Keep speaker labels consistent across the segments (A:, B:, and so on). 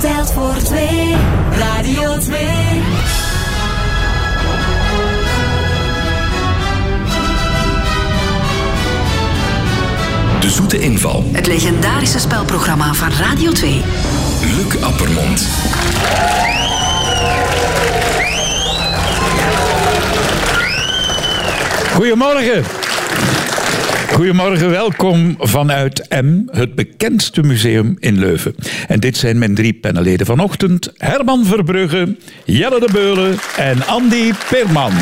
A: telt voor twee. Radio 2.
B: De zoete inval.
C: Het legendarische spelprogramma van Radio 2.
B: Luc Appermond.
D: Goedemorgen. Goedemorgen, welkom vanuit M, het bekendste museum in Leuven. En dit zijn mijn drie panelleden vanochtend: Herman Verbrugge, Jelle de Beulen en Andy Peerman.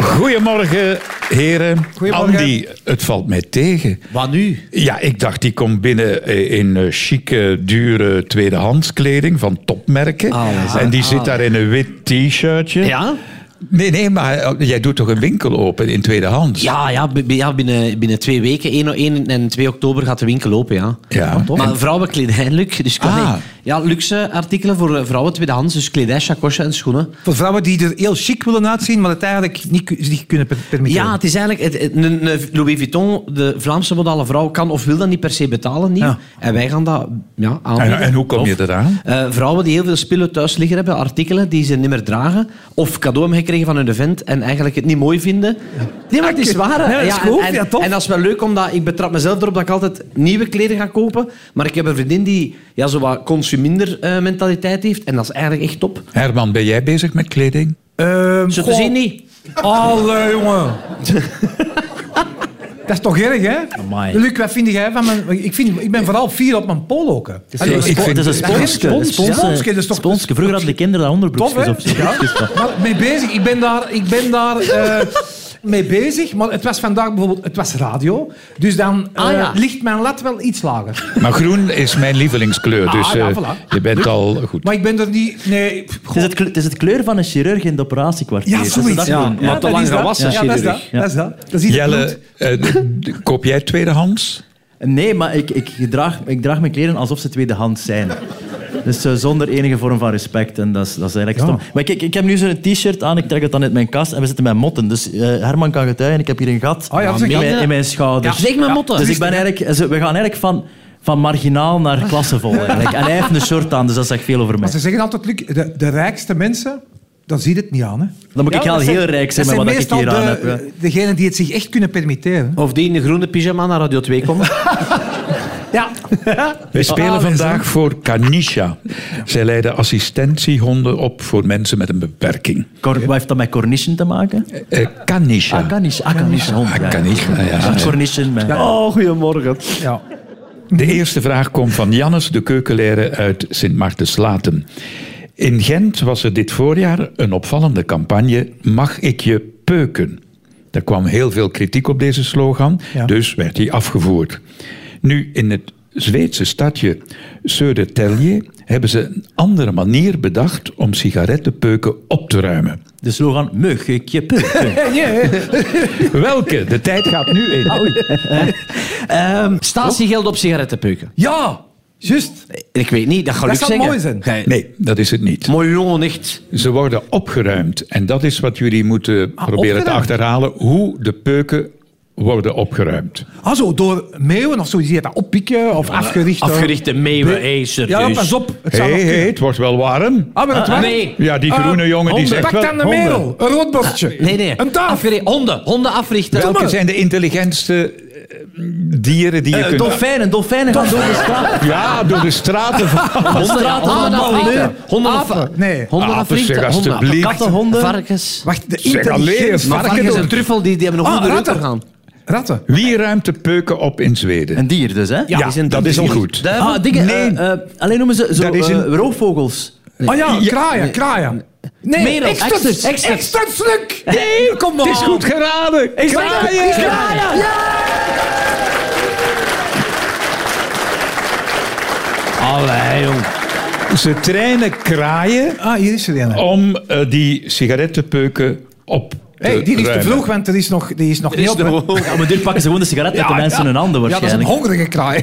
D: Goedemorgen, heren.
E: Goedemorgen.
D: Andy, het valt mij tegen.
E: Wat nu?
D: Ja, ik dacht, die komt binnen eh, in eh, chique, dure tweedehands kleding van topmerken.
F: Oh,
D: en die zit daar in een wit t-shirtje.
E: Ja?
D: Nee, nee, maar eh, jij doet toch een winkel open in tweedehands?
E: Ja, ja, b- b- ja binnen, binnen twee weken, 1, 1 en 2 oktober gaat de winkel open, ja.
D: Ja.
E: Toch? Maar vrouwenkledij, Luc. Dus kan
D: Ah.
E: ik- ja, luxe artikelen voor eh, vrouwen tweedehands, dus kledij, chacoche en schoenen.
F: Voor vrouwen die er heel chic willen uitzien, maar het eigenlijk niet, ku- zich niet kunnen per- permitteren.
E: Ja, het is eigenlijk... het- het- een, een Louis Vuitton, de Vlaamse modale vrouw, kan of wil dat niet per se betalen, niet.
F: Ja.
E: En wij gaan dat ja, aanbieden.
D: En, en hoe kom je
E: Of-
D: eraan?
E: Eh, vrouwen die heel veel spullen thuis liggen hebben, artikelen die ze niet meer dragen, of cadeau hebben gekregen van hun vent en eigenlijk het niet mooi vinden. Nee, maar het is waar. hè.
F: Ah, Nee, dat is goed.
E: en, en,
F: Ja, tof.
E: en dat is wel leuk, omdat ik betrap mezelf erop dat ik altijd nieuwe kleren ga kopen. Maar ik heb een vriendin die ja, zo wat consuminder eh, mentaliteit heeft. En dat is eigenlijk echt top.
D: Herman, ben jij bezig met kleding?
F: Ehm,
E: Zo te
F: goh,
E: zien niet.
F: Alle jongen. Dat is toch erg, hè?
E: Amai.
F: Luc, wat vind jij van mijn... Ik, vind, ik ben vooral fier op mijn poloken.
G: Het is een
D: Ik
G: spo-
D: vind-
G: het is een
D: Ja,
G: sponske.
F: spons,
G: Sponske.
F: sponske, dat is toch-
G: Sponske. Vroeger hadden de kinderen daar
F: Tof,
G: onderbroekjes
F: hè?
G: op.
F: Ja. Maar mee bezig. Ik ben daar, ik ben daar eh, mee bezig. Maar het was vandaag bijvoorbeeld... Het was radio. Dus dan eh,
E: Ah, ja.
F: ligt mijn lat wel iets lager.
D: Maar groen is mijn lievelingskleur, dus
F: Ah, ja,
D: eh,
F: voilà.
D: je bent al goed.
F: Maar ik ben er niet... Nee... pff,
G: Het is, het, kle- het is het kleur van een chirurg in het operatiekwartier.
F: Ja,
G: Dat is dat
F: zoiets.
G: doen,
E: maar te
F: dat
E: lang
F: is dat.
E: gewassen,
F: Ja, dat is dat.
E: chirurg.
F: Dat is dat. Dat is iets
D: Jelle, eh, d- koop jij tweedehands?
G: Nee, maar ik, ik, draag, ik draag mijn kleren alsof ze tweedehands zijn. Dus eh, zonder enige vorm van respect. En dat is, dat is eigenlijk stom. Maar kijk, ik heb nu zo'n t-shirt aan. Ik trek het dan uit mijn kast. En we zitten met motten. Dus eh, Herman kan getuigen. Ik heb hier een gat Ah,
F: Oh ja, dat is een
G: in,
F: gat,
G: mijn,
F: ja.
G: in mijn schouder.
E: Ja, zeg maar motten.
G: Dus ik ben eigenlijk, ze- we gaan eigenlijk van, van marginaal naar
E: Ah.
G: klassevol. Eigenlijk. En hij heeft een short aan. Dus dat zegt veel over mij.
F: Maar ze zeggen altijd, Luc, de, de rijkste mensen, daar ziet het niet aan. Hè?
G: Dan moet ik
F: Ja,
G: wel
F: dat
G: heel
F: zijn-
G: rijk zijn
F: dat
G: met wat
F: zijn
G: ik hier
F: meestal
G: aan
F: de-
G: heb. ja.
F: Degenen die het zich echt kunnen permitteren.
E: Of die in de groene pyjama naar Radio 2 komen.
F: Ja.
D: We
F: Oh,
D: spelen vandaag voor Kanisha. Zij leiden assistentiehonden op voor mensen met een beperking.
G: Cor- Wat heeft dat met cornichen te maken?
D: Eh, Kanisha.
G: Ah, Corniche. Ah, Corniche hond.
D: Ah,
G: ja.
D: Kanisha, ja.
G: Een Corniche. man.
E: Oh, goedemorgen.
F: ja.
D: De eerste vraag komt van Jannes de Keukenleraar uit sint maartenslaten In Gent was er dit voorjaar een opvallende campagne Mag ik je peuken? Er kwam heel veel kritiek op deze slogan,
F: Ja.
D: dus werd die afgevoerd. Nu, in het Zweedse stadje Södertälje hebben ze een andere manier bedacht om sigarettenpeuken op te ruimen.
G: De slogan Mug, ik je peuken.
D: Welke? De tijd gaat nu in.
E: statiegeld op sigarettenpeuken.
F: ja, juist.
E: Ik weet niet, dat ga ik
F: Dat zou
E: zeggen.
F: mooi zijn.
E: Gij-
D: Nee, dat is het niet.
E: Mooi jongen, echt.
D: Ze worden opgeruimd. En dat is wat jullie moeten proberen te
F: Ah, opgeruimd.
D: achterhalen. Hoe de peuken worden opgeruimd.
F: Ah, zo, door meeuwen of zo, die dat oppikken of afgericht. hoor.
E: Afgerichte meeuwen, hé,
F: Ja,
E: serieus.
F: pas op. Het
D: Hé,
F: zou
D: hey,
F: nog kunnen.
D: het wordt wel warm.
F: Ah, maar het was-
E: nee.
D: Ja, die groene
F: Ah,
D: jongen die
F: honden.
D: zegt
F: Pak
D: wel...
F: dan een
D: honden.
F: merel, een roodborstje.
E: Nee, nee.
F: Een taaf.
E: Afri- honden. Honden africhten.
D: Welke zijn de intelligentste eh, dieren die je
F: Eh,
D: kunt...
G: dolfijnen, dolfijnen gaan door de straat.
D: Ja, door de straten van...
E: honden? ja, Honden africhten. Honden
F: Apen. Nee.
E: Honden
D: Apen,
E: africhten.
D: zeg,
E: Honden
D: alstublieft.
E: africhten.
G: Katten, honden.
E: Varkens.
F: Wacht, de
D: Zeg, alleen,
F: intelligentste.
E: Maar varkens en
D: varken.
E: truffel die, die hebben nog
F: Ah,
E: goed eruit
F: ratten.
E: gaan.
F: Ratten.
D: Wie ruimt de peuken op in Zweden?
G: Een dier dus, hè?
D: Ja, dat is niet goed.
E: Duiven.
G: Ah, dingen,
D: Nee.
G: eh, eh, alleen noemen ze zo,
D: Dat is een-
G: eh, roofvogels.
F: Ah ja,
D: Ja.
F: kraaien, kraaien. Nee,
E: Merel,
F: eksters,
E: eksters, eksters.
F: eksters, Luc. Nee, kom op.
D: Het is goed geraden. Kraaien.
E: Allee, jong.
D: Ze trainen kraaien
F: Ah, hier is er een.
D: om eh, die sigarettenpeuken op te
F: Hey, die is te
D: ruimen.
F: vroeg, want die is nog, die is nog niet op.
G: Ja, maar dit pakken ze gewoon de sigaret uit de mensen hun handen
F: Ja, dat is een
G: waarschijnlijk.
F: hongerige kraai.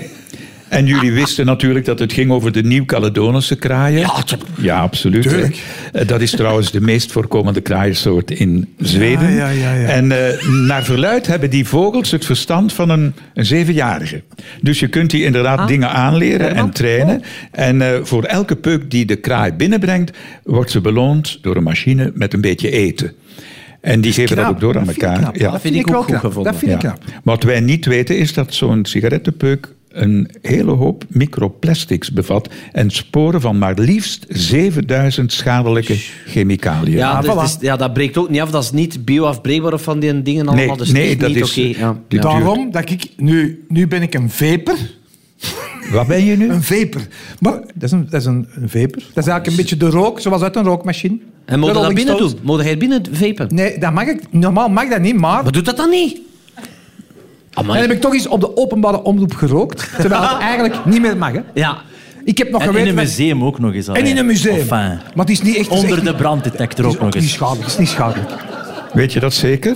D: En jullie wisten natuurlijk dat het ging over de Nieuw-Caledonische kraaien. Ja, absoluut.
F: Tuurlijk.
D: Eh, Dat is trouwens de meest voorkomende kraaiensoort in Zweden.
F: Ja, ja, ja, ja.
D: En eh, naar verluid hebben die vogels het verstand van een, een zevenjarige. Dus je kunt die inderdaad dingen aanleren en trainen. En eh, voor elke peuk die de kraai binnenbrengt, wordt ze beloond door een machine met een beetje eten. En die geven dat ook door aan
F: Dat vind ik
D: elkaar.
F: knap.
D: Ja.
F: Dat vind ik
E: ook
F: wel
E: goed
F: knap.
E: gevonden.
F: Dat vind ik
D: Ja.
F: knap.
D: Wat wij niet weten is dat zo'n sigarettenpeuk een hele hoop microplastics bevat en sporen van maar liefst 7000 schadelijke chemicaliën.
E: Ja, dus
F: Ah, voilà.
E: het is- ja, dat breekt ook niet af. Dat is niet bioafbreekbaar of van die dingen allemaal.
D: Nee,
E: dus het
D: nee,
E: is
D: dat
E: niet
D: is-
E: oké. Ja.
D: die-
E: Ja.
F: Daarom dat ik nu, nu ben ik een veper.
D: Wat ben je nu?
F: Een veper. Maar dat is een, dat is een, een veper. Dat is eigenlijk een beetje de rook, zoals uit een rookmachine.
E: En moet
F: De
E: je dat
F: Rolling
E: binnen
F: Stones.
E: doen? Moet hij het binnen vapen?
F: Nee, dat mag ik, normaal mag dat niet, maar...
E: Maar doet dat dan niet?
F: En
E: Amai.
F: heb ik toch eens op de openbare omroep gerookt, terwijl het eigenlijk niet meer mag. Hè.
E: Ja.
F: Ik heb nog
G: En in
F: geweten...
G: een
F: dat-
G: museum ook nog eens.
F: en in een museum.
G: Enfin,
F: Maar het is niet echt... het is
G: onder
F: echt
G: de branddetector ook
F: niet-
G: nog
F: Het is niet
G: eens.
F: schadelijk, het is niet schadelijk.
D: Weet je dat zeker?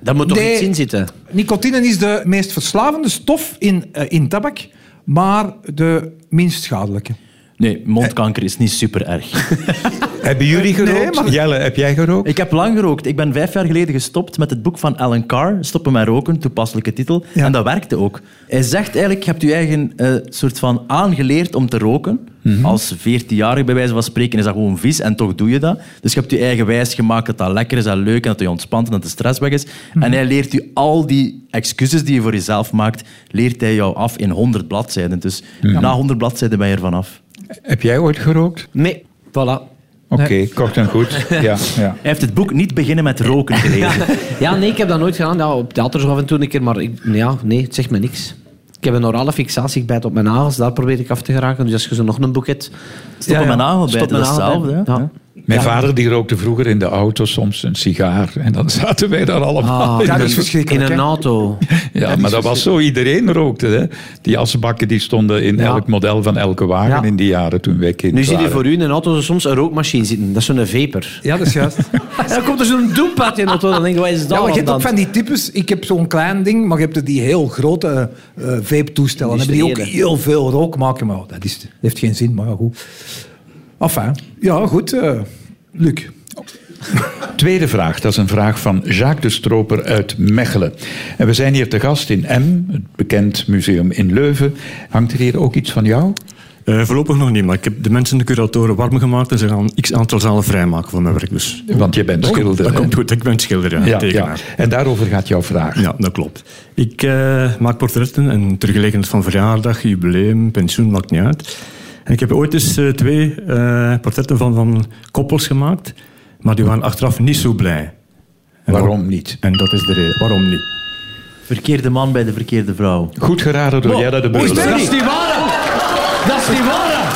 E: Daar moet toch
F: Nee.
E: iets in zitten?
F: Nicotine is de meest verslavende stof in, eh, in tabak, maar de minst schadelijke.
G: Nee, mondkanker is niet super erg.
D: Hebben jullie gerookt?
F: maar-
D: Jelle, heb jij gerookt?
G: Ik heb lang gerookt. Ik ben vijf jaar geleden gestopt met het boek van Alan Carr, Stoppen met roken, toepasselijke titel.
F: Ja.
G: En dat werkte ook. Hij zegt eigenlijk, je hebt je eigen eh, soort van aangeleerd om te roken. Als veertienjarige bij wijze van spreken is dat gewoon vies en toch doe je dat. Dus je hebt je eigen wijs gemaakt dat dat lekker is, dat leuk en dat je ontspant en dat de stress weg is. En hij leert je al die excuses die je voor jezelf maakt, leert hij jou af in honderd bladzijden. Dus na honderd bladzijden ben je er vanaf.
D: Heb jij ooit gerookt?
E: Nee. Voilà.
D: Oké, kort en goed. Ja, ja.
G: Hij heeft het boek Niet beginnen met roken gelezen.
E: Ja, nee, ik heb dat nooit gedaan. Ja, op theater zo af en toe een keer, maar ik, ja, nee, het zegt me niks. Ik heb een orale fixatie, ik bijt op mijn nagels, daar probeer ik af te geraken. Dus als je zo nog een boeket...
G: Stoppen met nagel bij,
E: Stop
G: Oh, dat
E: mijn
G: is
E: nagel bij.
G: hetzelfde. hè?
E: Ja.
D: Mijn vader die rookte vroeger in de auto soms een sigaar. En dan zaten wij daar allemaal.
E: Ah,
D: in.
F: Ja, dat
E: in
F: is
E: een-
F: verschrikkelijk,
E: In een
F: hè?
E: auto.
D: Ja, maar dat was zo. Iedereen rookte. Hè? Die asbakken die stonden in
E: Ja.
D: elk model van elke wagen
E: Ja.
D: in die jaren toen wij kinderen
E: Nu zie je
D: waren.
E: voor u in een auto zo soms een rookmachine zitten. Dat is zo'n vaper.
F: Ja, dat is juist.
E: En dan komt er zo'n doempad in de auto. Dan denk je, wat is dat
F: Ja, maar je hebt
E: dan?
F: ook van die types. Ik heb zo'n klein ding, maar je hebt er die heel grote eh vape-toestellen.
E: Die
F: Die, die ook
E: stelen.
F: heel veel rook maken. Maar dat, is, dat heeft geen zin, maar ja, goed. Enfin, ja, goed. eh, Luc.
D: Tweede vraag, dat is een vraag van Jacques de Stroper uit Mechelen. En we zijn hier te gast in M, het bekend museum in Leuven. Hangt er hier ook iets van jou?
H: Eh, voorlopig nog niet, maar ik heb de mensen, de curatoren, warm gemaakt en ze gaan x aantal zalen vrijmaken voor mijn werk. Dus
D: Want je bent
H: dat, komt,
D: schilder.
H: dat
D: hè?
H: komt goed, ik ben schilder, ja,
D: Ja, ja.
H: tekenaar.
D: En daarover gaat jouw vraag.
H: Ja. dat klopt. Ik eh, maak portretten en ter gelegenheid van verjaardag, jubileum, pensioen, maakt niet uit. En ik heb ooit eens eh, twee eh, portretten van, van koppels gemaakt, maar die waren achteraf niet zo blij. En
D: Waarom
H: dat-
D: niet?
H: En dat is de reden. Waarom niet?
G: Verkeerde man bij de verkeerde vrouw.
D: Goed geraden door Jelle de Beuler.
I: Dat is niet waar. Dat is niet waar.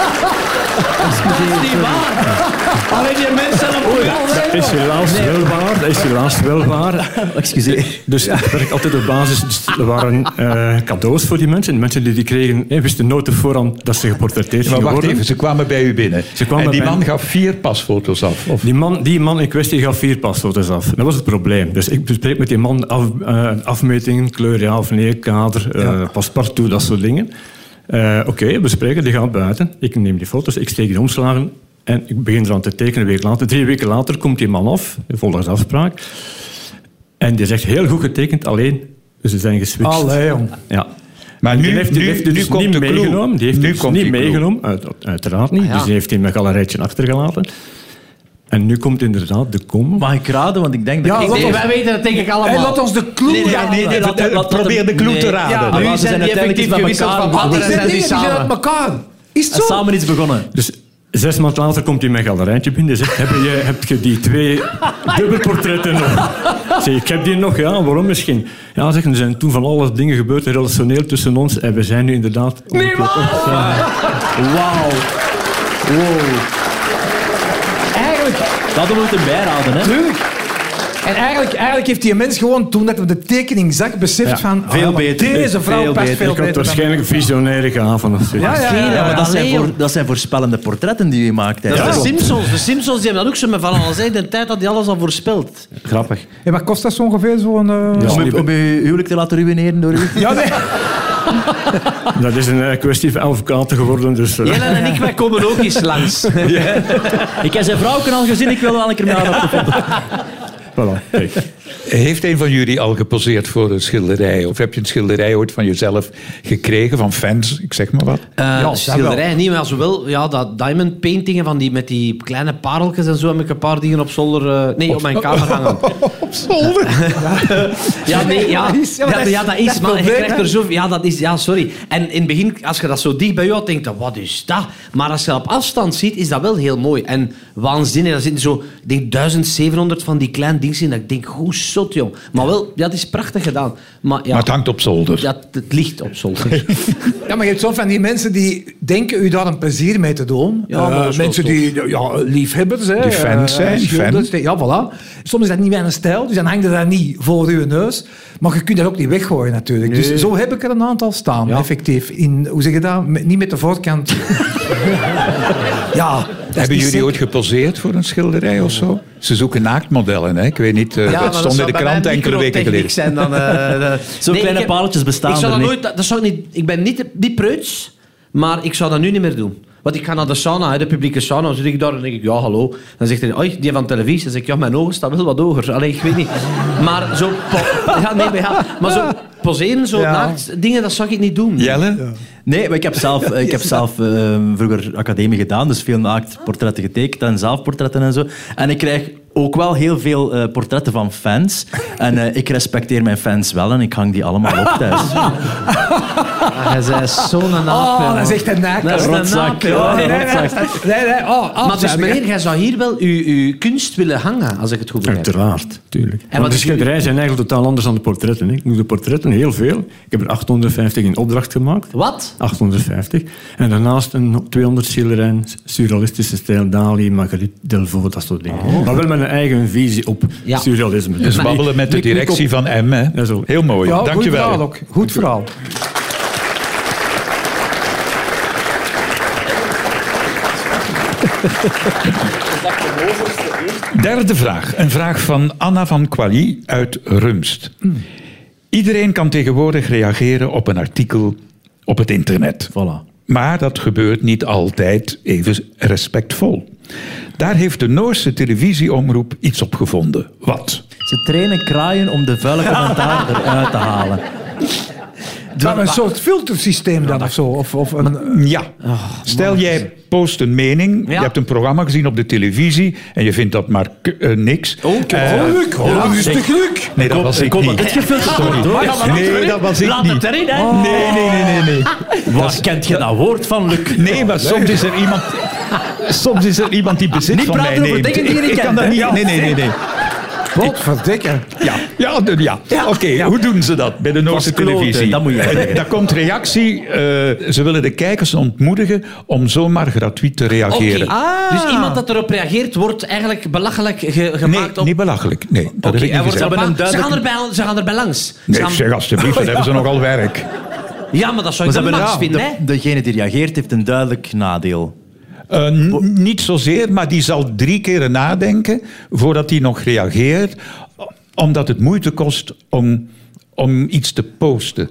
I: Dat is niet waar. Alleen die mensen hebben
H: Dat is helaas wel waar. Dat is helaas wel waar.
G: Excuseer.
H: Dus ik werk altijd op basis. dus er waren eh, cadeaus voor die mensen. De mensen die die kregen, eh, wisten nooit op voorhand dat ze geportretteerd
D: Maar
H: gingen
D: wacht
H: worden.
D: even, ze kwamen bij u binnen.
H: Ze kwamen
D: en die
H: bij
D: man
H: me.
D: gaf vier pasfoto's af. Of
H: Die man, die man in kwestie gaf vier pasfoto's af. Dat was het probleem. Dus ik bespreek met die man af, eh, afmetingen, kleur ja of nee, kader, eh paspartout, dat soort dingen. Eh, Oké, bespreken, die gaat buiten. Ik neem die foto's, ik steek die omslagen en ik begin eraan te tekenen een week later. Drie weken later komt die man af, volgens afspraak. En die zegt heel goed getekend, alleen ze zijn geswitcht.
F: Allee, jong.
H: Ja.
D: Maar
H: En die
D: nu-
H: heeft, die
D: nu-
H: heeft die
D: nu
H: dus
D: komt
H: niet
D: de clue.
H: meegenomen. Die heeft
D: Nu
H: die dus
D: komt die
H: niet
D: clue.
H: meegenomen, uit- uiteraard niet.
E: Ah, ja.
H: Dus die heeft hij met een galerijtje achtergelaten. En nu komt inderdaad de kom.
G: Mag ik raden? Want ik denk dat
F: Ja,
G: ik...
F: laat
E: Nee,
F: ons-
E: wij weten dat denk ik
F: Hey,
E: allemaal.
F: laat ons de clue...
G: Nee,
D: Ja, nee, nee,
G: laat- laat- laat-
D: probeer de clue
G: nee.
D: te raden.
G: maar
E: nu
G: ze
E: zijn die
G: uiteindelijk
E: effectief
G: iets met
E: gewisseld
G: elkaar
E: van
G: begonnen.
E: patronen.
F: die
E: zijn die
F: dingen die zijn
E: samen.
F: uit elkaar. Is het
G: En
F: zo?
G: samen iets begonnen.
H: Dus zes maanden later komt hij met een galerijtje binnen en zegt... Heb je, heb je die twee dubbelportretten nog? Ik Zeg, ik heb die nog, ja. Waarom misschien? Ja, zeggen, er zijn toen van alle dingen gebeurd relationeel tussen ons. En we zijn nu inderdaad... Nee,
G: Wauw. Wow. Eigenlijk... Dat we moeten bijraden, hè.
F: Tuurlijk. En eigenlijk, eigenlijk heeft die mens gewoon, toen dat hij de tekening zag, beseft
H: Ja,
F: van... ah,
G: veel
F: maar
G: beter.
F: Deze vrouw
G: Veel
F: past
G: beter.
F: veel
H: Ik had
F: beter dan
H: waarschijnlijk een visionaire gehaven of zoiets.
F: Ja, ja,
G: Ja,
F: ja.
G: Eh, maar dat zijn,
E: Allee,
G: voor, dat zijn voorspellende portretten die je maakt.
E: Dat
G: eigenlijk.
E: is de Simpsons. De Simpsons die hebben dat ook zo met van alles. hè. De tijd dat die alles al voorspelt.
H: Grappig.
F: En wat kost dat zo ongeveer, zo'n... eh,
H: Ja.
G: Om, je, om je huwelijk te laten ruïneren door u.
F: Ja, nee.
H: Dat is een eh, kwestie van advocaten geworden, dus... eh,
E: Jelle en ik, wij komen ook eens langs.
G: Ik heb zijn vrouwken al gezien, ik wil wel een keer mee aan op de
H: voilà, kijk.
D: Heeft een van jullie al geposeerd voor een schilderij? Of heb je een schilderij ooit van jezelf gekregen, van fans, ik zeg maar wat?
E: ja, Eh, schilderij niet, maar zowel ja, dat diamond paintingen van die, met die kleine pareltjes en zo heb ik een paar dingen op zolder... eh, nee, op mijn kamer hangen. Ja, nee, ja.
F: Ja,
E: Ja,
F: maar
E: ja,
F: dat
E: dat
F: is-
E: is,
F: dat is het
E: maar je
F: probleem,
E: krijgt er zo... Ja, dat is... Ja, sorry. En in het begin, als je dat zo dicht bij jou denkt, dan, wat is dat? Maar als je dat op afstand ziet, is dat wel heel mooi. En waanzinnig. Daar zitten zo, ik denk, 1700 van die kleine dingen in. Dat ik denk, hoe zot, jong. Maar wel, ja, het is prachtig gedaan. Maar ja,
D: Maar het hangt op zolder.
E: ja, het- het ligt op zolder.
F: Ja, maar je hebt zo van die mensen die denken u daar een plezier mee te doen.
E: Ja, maar
F: Eh,
E: dat is wel
F: mensen
E: tof.
F: die ja, liefhebbers hè,
D: Die fans
F: eh,
D: zijn,
F: schilders,
D: fan.
F: Ja, voilà. Soms is dat niet mijn stijl, dus dan hangt dat niet voor uw neus. Maar je kunt dat ook niet weggooien natuurlijk. Dus zo heb ik er een aantal staan, effectief. In, hoe zeg je dat? Met- niet met de voorkant. ja, dat is
D: Hebben
F: niet
D: jullie
F: zeker.
D: ooit geposeerd voor een schilderij of zo? Ze zoeken naaktmodellen, hè? Ik weet niet, eh, dat stond in de krant enkele weken geleden.
E: Zijn dan, eh,
G: Zo'n kleine pareltjes bestaan
E: ik zou
G: er
E: dat
G: niet.
E: nooit, dat, dat zou ik niet. Ik ben niet, niet preuts, maar ik zou dat nu niet meer doen. Want ik ga naar de sauna, hè, de publieke sauna. Dan zit ik daar en denk ik, ja, hallo. Dan zegt hij, oei, die van televisie. Dan zeg ik, ja, mijn ogen staan wel wat hoger. Allee, ik weet niet. Maar zo... po- Ja, nee, maar, ja, maar zo poseren, zo naakt, dingen, dat zou ik niet doen.
D: Jelle?
G: Nee, maar ik heb zelf, ik heb zelf eh, vroeger academie gedaan, dus veel naaktportretten getekend en zelfportretten en zo. En ik krijg ook wel heel veel eh, portretten van fans. En eh, ik respecteer mijn fans wel en ik hang die allemaal op thuis.
E: Ah, hij zei, zo'n naakt.
F: Oh,
E: man.
F: dat is echt een naakt.
E: Dat is een
G: Rotzak,
E: naakt,
G: ja,
E: ja.
F: Nee, nee, nee, nee, oh,
E: Maar dus meneer, jij zou hier wel uw, uw kunst willen hangen, als ik het goed begrijp.
H: Uiteraard, tuurlijk.
E: wat
H: Want de
E: is uw-
H: schilderijen zijn eigenlijk totaal anders dan de portretten. hè. Ik doe de portretten heel veel. Ik heb er 850 in opdracht gemaakt.
E: Wat?
H: 850. En daarnaast een 200 schilderijen, surrealistische stijl, Dali, Magritte, Delvaux, dat soort dingen.
G: Oh.
H: Maar wel met een eigen visie op
E: Ja.
H: surrealisme.
D: Dus
H: Dus
D: babbelen met de
H: Klik, klik
D: directie van M, hè?
H: Ja, zo.
D: Heel mooi,
F: Ja, Goed
D: dankjewel.
F: verhaal ook. Goed verhaal.
D: Derde vraag. Een vraag van Anna van Quali uit Rumst. Iedereen kan tegenwoordig reageren op een artikel op het internet.
G: Voilà.
D: Maar dat gebeurt niet altijd even respectvol. Daar heeft de Noorse televisieomroep iets op gevonden. Wat?
G: Ze trainen kraaien om de vuile commentaar eruit te halen.
F: Maar een soort filtersysteem dan of zo. Of, of een,
D: Ja,
G: Oh,
D: stel jij post een mening, je hebt een programma gezien op de televisie en je vindt dat maar k- eh, niks. Oh,
F: Geluk, oh, rustig geluk.
D: Nee, dat was ik niet. Nee, dat was ik niet. Oh.
E: erin, hè.
D: Nee, nee, nee, nee. nee.
G: Waar kent je dat woord van, Luc?
D: Nee, maar soms is er iemand. Soms is er iemand die bezit
G: Niet
D: van mij
G: praten over
D: neemt.
G: dingen die je
D: Ik-
G: niet
D: ik kan
G: kent,
D: dat
G: hè?
D: niet. Nee, nee, nee, nee.
F: Godverdikke.
D: Ja, ja, d- ja. oké. Hoe doen ze dat bij de Noorse
G: kloten,
D: televisie?
G: dat moet je
D: En
G: zeggen.
D: Daar komt reactie. eh, ze willen de kijkers ontmoedigen om zomaar gratuit te reageren.
E: Oké,
G: ah,
E: Dus iemand dat erop reageert, wordt eigenlijk belachelijk ge-
D: Nee,
E: gemaakt op...
D: niet belachelijk. Nee, dat
E: Oké,
D: heb ik
E: hij
D: niet
E: wordt
D: gezegd.
E: erbij-
G: hebben een
E: ze, gaan erbij, ze gaan erbij langs. Ze
D: Nee,
E: gaan-
D: zeg alsjeblieft, dan hebben ze nogal werk.
E: Ja, maar dat zou
G: Maar
E: ik
G: ze
E: de
G: hebben
E: max
G: een-
E: vinden, hè?
G: de- degene die reageert heeft een duidelijk nadeel.
D: Eh, n- niet zozeer, maar die zal drie keren nadenken voordat hij nog reageert, o- omdat het moeite kost om, om iets te posten.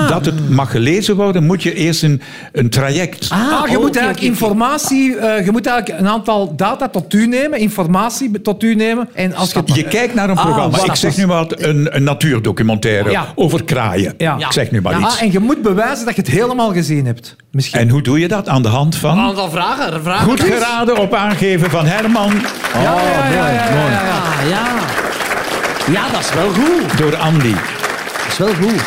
D: Omdat het mag gelezen worden, moet je eerst een, een traject.
F: Ah, je
E: oh, oké,
F: moet eigenlijk
E: oké, oké.
F: informatie, eh, je moet eigenlijk een aantal data tot u nemen, informatie be- tot u nemen. En als je,
D: Je kijkt naar een programma.
F: wacht.
D: Ik zeg nu maar wat, een, een natuurdocumentaire
F: Ja.
D: over kraaien.
F: Ja.
D: Ik zeg nu maar
F: Ja, Ah,
D: iets.
F: en je moet bewijzen dat je het helemaal gezien hebt. Misschien.
D: En hoe doe je dat? Aan de hand
E: Een
D: van...
E: aantal vragen. vragen Ah,
D: Goed geraden op aangeven van Herman
G: Oh,
F: ja, ja, ja, ja, ja, ja.
E: Ja, ja. Ja, dat is wel goed.
D: door Andy.
E: Dat is wel goed.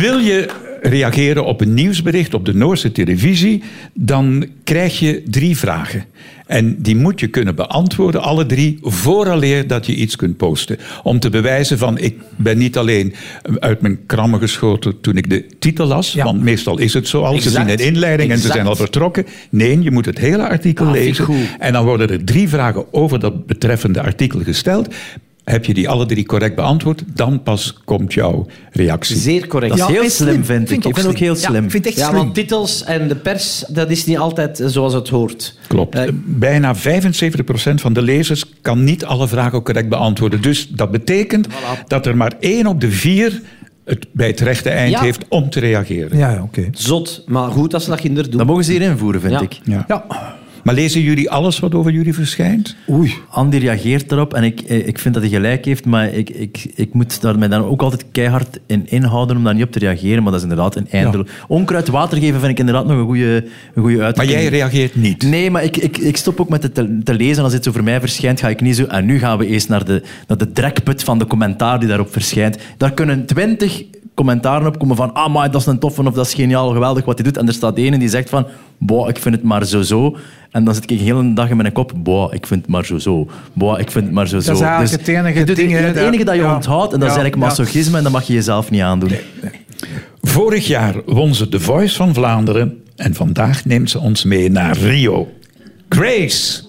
D: Wil je reageren op een nieuwsbericht op de Noorse televisie, dan krijg je drie vragen. En die moet je kunnen beantwoorden, alle drie, vooraleer dat je iets kunt posten. Om te bewijzen van, ik ben niet alleen uit mijn krammen geschoten toen ik de titel las,
F: Ja.
D: want meestal is het zo al, ze
E: Exact.
D: zien een inleiding en ze
E: Exact.
D: zijn al vertrokken. Nee, je moet het hele artikel
E: Ah, vind ik
D: lezen.
E: goed.
D: En dan worden er drie vragen over dat betreffende artikel gesteld. Heb je die alle drie correct beantwoord, dan pas komt jouw reactie.
E: Zeer correct.
G: Dat is
E: Ja.
G: heel
F: en slim.
G: slim, vind ik. Ik vind het ook heel
F: Ja,
G: slim.
F: ik vind het echt
E: Ja,
F: slim.
E: want titels en de pers, dat is niet altijd eh, zoals het hoort.
D: Klopt.
E: Eh,
D: Bijna 75% van de lezers kan niet alle vragen correct beantwoorden. Dus dat betekent dat er maar één op de vier het bij het rechte eind
E: Ja.
D: heeft om te reageren.
J: Ja, ja, oké.
E: Zot, maar goed dat ze dat kinderen doen.
G: Dat mogen ze hier invoeren, vind
E: Ja.
G: ik.
D: Ja. Maar lezen jullie alles wat over jullie verschijnt?
G: Oei. Andy reageert daarop en ik, eh, ik vind dat hij gelijk heeft, maar ik, ik, ik moet daar mij dan ook altijd keihard in inhouden om daar niet op te reageren, maar dat is inderdaad een eindelo. Onkruid water geven vind ik inderdaad nog een goede een goede
D: Maar
G: uitdrukking.
D: jij reageert niet.
G: Nee, maar ik, ik, ik stop ook met het te, te lezen. Als iets over mij verschijnt, ga ik niet zo... En nu gaan we eerst naar de, naar de drekput van de commentaar die daarop verschijnt. Daar kunnen twintig commentaren op komen van... Ah, maar dat is een toffe of dat is geniaal, geweldig wat hij doet. En er staat ene die zegt van... Boah, ik vind het maar zo-zo. En dan zit ik de hele dag in mijn kop... Boah, ik vind het maar zo-zo. Boah, ik vind het maar zo-zo.
F: Dat is eigenlijk het enige
G: dus je doet
F: ding, hè,
G: Het
F: dat-
G: enige dat je
F: ja.
G: onthoudt, en dat is
F: Ja,
G: eigenlijk
F: ja.
G: masochisme... en dat mag je jezelf niet aandoen.
D: Vorig jaar won ze The Voice van Vlaanderen en vandaag neemt ze ons mee naar Rio. Grace!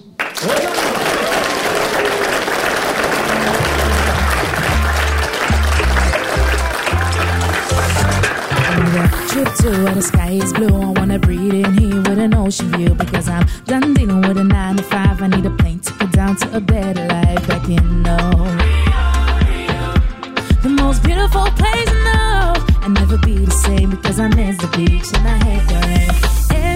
K: Trip to where the sky is blue. I wanna breathe in here with an ocean view because I'm done dealing with a nine to five. I need a plane ticket down to a better life back in oh. The most beautiful place in oh. I never be the same because I miss the beach and I hate the rain.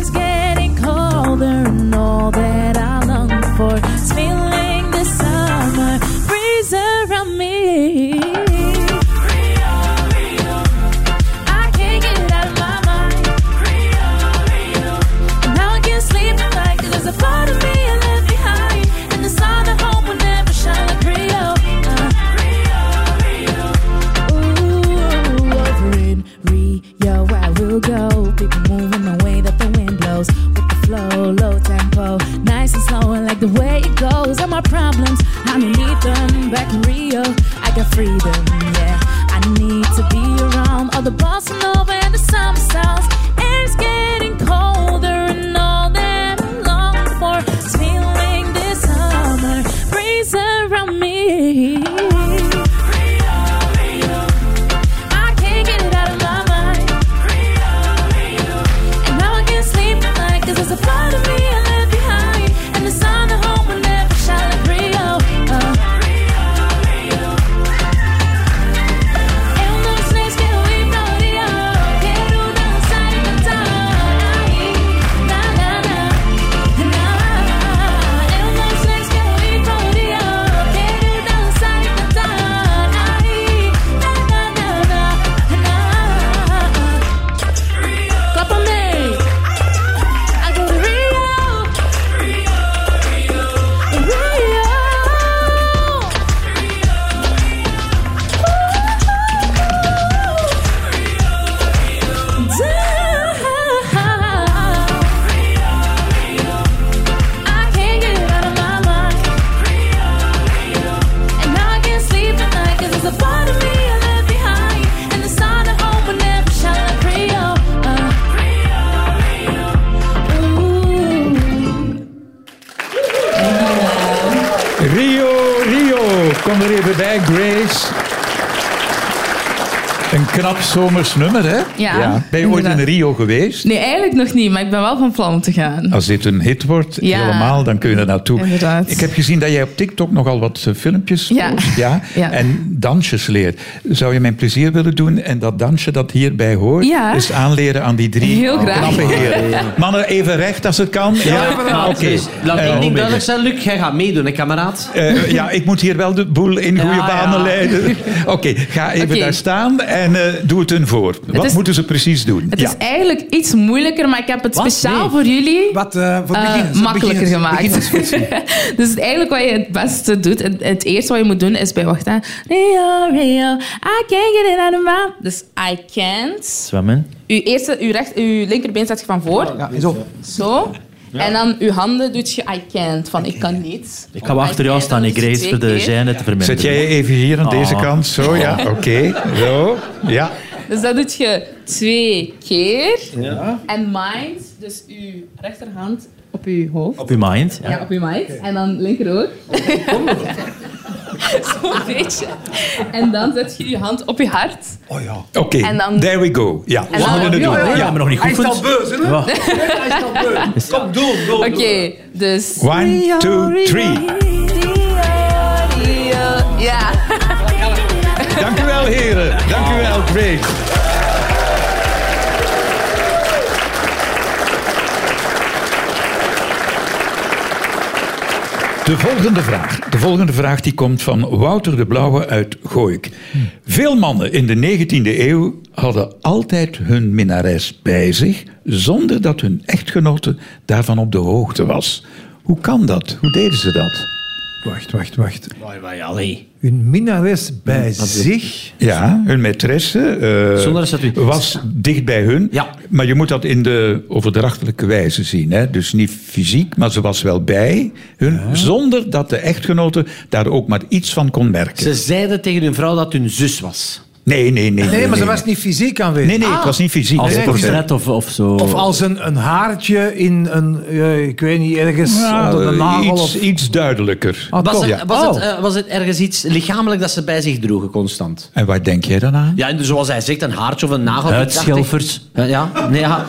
K: It's getting colder and all that I long for is feeling the summer breeze around me. I can't get it out of my mind. Now I can't sleep at night 'cause there's a part of me I left behind, and the sun I hope will never shine like Rio. Uh, Ooh, over in Rio I will go. People moving the way that the wind blows, with the flow, low tempo, nice and slow, and like the way it goes. All my problems, I don't need them. Back in Rio, I got freedom. Yeah. I need to be around all the bossa nova and the summer sounds. It's getting colder and all that I long for is feeling this summer breeze around me. I can't get it out of my mind. And now I can't sleep at night 'cause there's a part of me I left behind, and the sun at home will never shine like Rio. Uh. Eu não sei se eu ignoraria. Quero dançar e cantar. Na, na, na, na. Eu não sei se eu ignoraria. Quero dançar e cantar. Na, na, na, na. Copa May. I go to Rio. Rio. Rio.
D: Rio, Rio, kom er even bij, Grace. Een knap zomers nummer, hè?
L: Ja,
D: Ben je ooit in
L: inderdaad.
D: Rio geweest?
L: Nee, eigenlijk nog niet, maar ik ben wel van plan om te gaan.
D: Als dit een hit wordt,
L: Ja.
D: helemaal, dan kun je er naartoe.
L: Inderdaad.
D: Ik heb gezien dat jij op TikTok nogal wat eh, filmpjes
L: Ja.
D: post, Ja,
L: Ja.
D: en dansjes leert. Zou je mijn plezier willen doen en dat dansje dat hierbij hoort,
L: Ja.
D: is aanleren aan die drie
L: Heel graag.
D: knappe heren? Mannen, even recht als het kan. Ja,
E: Maar,
D: oké.
E: dus, laat
D: Eh,
E: één
D: Robin.
E: ding duidelijk zijn, Luc. Jij gaat meedoen, hè, kameraad.
D: Eh, ja, ik moet hier wel de boel in goede
E: Ja,
D: banen
E: ja.
D: leiden. Oké, ga even
L: Oké.
D: daar staan en eh, doe het hun voor. Wat
L: is-
D: moeten ze precies doen?
L: Het
D: ja.
L: is eigenlijk iets moeilijker, maar ik heb het speciaal voor jullie
F: Wat eh, voor
L: eh,
F: beginners?
L: makkelijker
F: beginners-
L: gemaakt.
F: beginners-
L: dus eigenlijk wat je het beste doet, het, het eerste wat je moet doen is bij wacht aan. Rio, Rio, I can't get it out of my... Dus I can't.
G: Zwemmen.
L: Uw, eerste, uw, recht, uw linkerbeen zet je van voor.
F: ja, zo.
L: Zo. En dan uw handen doet je I can't, van ik kan niet.
G: Ik ga wel achter jou staan, ik reis voor de
L: zijn.
G: gêne te verminderen.
D: Zet jij even hier aan deze
G: Ah.
D: kant? Zo, ja,
L: Oh.
D: oké. Zo, ja.
L: Dus dat doet je twee keer. En mind, dus uw rechterhand op uw hoofd.
G: Op je mind. Ja.
L: Ja, op uw mind. En dan linker ook. Zo'n beetje. En dan zet je je hand op je hart.
D: Oké,
L: En dan-
D: there we go. Ja,
L: En
D: we
L: dan-
D: moeten het
L: Ja,
D: doen.
L: ja,
G: Ja,
D: Ja.
G: maar nog niet goed.
J: Hij is al beus, hè?
G: Ja.
J: Hij is al beus. Kom, doe, hem, doe. hem,
L: Oké,
J: doe hem.
L: dus...
D: One, two, three.
L: Rio, Rio. Ja.
D: Dank u wel, heren. Dank u wel, Grace. De volgende vraag. De volgende vraag die komt van Wouter de Blauwe uit Gooik. Veel mannen in de 19e eeuw hadden altijd hun minnares bij zich, zonder dat hun echtgenote daarvan op de hoogte was. Hoe kan dat? Hoe deden ze dat?
F: Wacht, wacht, wacht.
E: Allee.
F: Hun minnares bij zich.
D: Ja, hun maîtresse eh,
E: Zonder dat ze het wist.
D: was dicht bij hun.
E: Ja.
D: Maar je moet dat in de overdrachtelijke wijze zien. Hè? Dus niet fysiek, maar ze was wel bij hun. Zonder dat de echtgenote daar ook maar iets van kon merken.
E: Ze zeiden tegen hun vrouw dat hun zus was.
D: Nee, nee, nee.
F: Nee, maar ze was Ah. niet fysiek aanwezig.
D: Nee, nee, het was niet fysiek.
G: Als
D: Nee,
G: een
D: nee, nee.
G: portret of, of zo.
F: Of als een, een haartje in een, eh, ik weet niet, ergens
D: Ja,
F: onder de nagel.
D: Nou, eh, iets,
F: of,
D: iets duidelijker.
F: Ah,
E: Was
F: toch?
E: het, was,
F: Oh.
E: het, eh, was het ergens iets lichamelijk dat ze bij zich droegen constant?
D: En waar denk jij dan aan?
E: Ja, en dus zoals hij zegt, een haartje of een nagel.
G: Huidschilfers.
E: Ja, ja, nee, ja.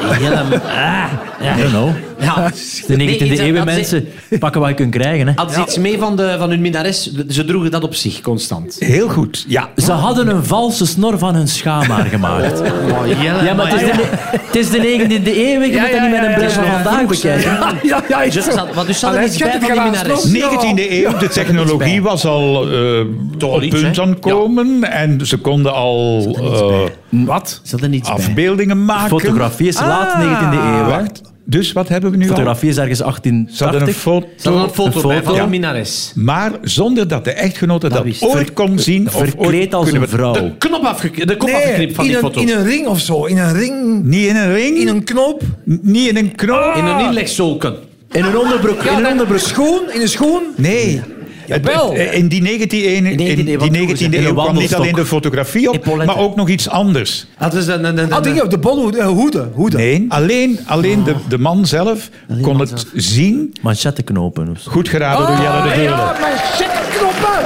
E: Helemaal- ah, ja.
G: I don't know.
E: Ja.
G: De 19e
E: Nee, iets-
G: eeuw
E: had ze-
G: mensen pakken wat je kunt krijgen. Hè.
E: Had ze iets mee van, de, van hun minnares? Ze droegen dat op zich constant.
D: Heel goed. Ja,
G: Ze hadden een valse snor van hun schaamhaar gemaakt. Oh,
E: Oh,
G: Ja, maar het is de, het is de 19e eeuw. Je moet dat niet met een bril van vandaag bekijken.
F: Ja, ja, is
E: Dus
F: zo.
E: zat- want dus zat er
F: Allee,
E: iets bij
F: schat,
E: van
F: ik
E: die
F: ga
E: minnares.
F: aan het
D: 19e eeuw, de technologie was al eh op
E: iets,
D: punt
E: hè?
D: aan het komen. En ze konden al eh,
G: Wat? Zat er niets bij.
D: afbeeldingen maken.
G: Fotografie is laat 19e eeuw. hè.
D: Wacht, dus wat hebben we nu al?
G: Fotografie is ergens
D: Ze hadden een
G: 1880.
E: Ze hadden
D: foto,
E: een foto bij van
D: ja.
E: hun minnares.
D: maar zonder dat de echtgenote dat,
G: wist-
D: ooit kon zien. Of ooit
G: Verkleed als
D: kunnen
G: een
D: we-
G: vrouw.
E: Knop afgeknipt, de kop
F: Nee,
E: afgeknipt van
F: in
E: die
F: een,
E: foto.
F: In een ring of zo. In een ring,
D: Niet in een ring,
F: in een knoop.
D: n- niet in een knoop.
E: Ah. In een inlegzolken.
G: In een onderbroek.
F: Ja,
G: in een
F: dan-
G: onderbroek.
F: Schoen, in een schoen.
D: Nee. Het-
F: Jawel.
D: het- eh, In die 19e eeuw, in
E: negentiende eeuw,
D: die
E: wat doen
D: 19e
E: ze?
D: eeuw
G: In
D: kwam
G: een
D: niet
G: wandelstok.
D: alleen de fotografie op,
E: Epauletten.
D: maar ook nog iets anders.
E: Hadden ze een, een, een,
F: Ah,
E: een-
F: dingen op de bolhoed, eh, hoeden. hoeden.
D: Nee, alleen, alleen de, de man zelf kon het zien.
G: Manchetteknopen of zo.
D: Goed geraden door Jelle de Veulen.
F: ja, maar shit, knoppen.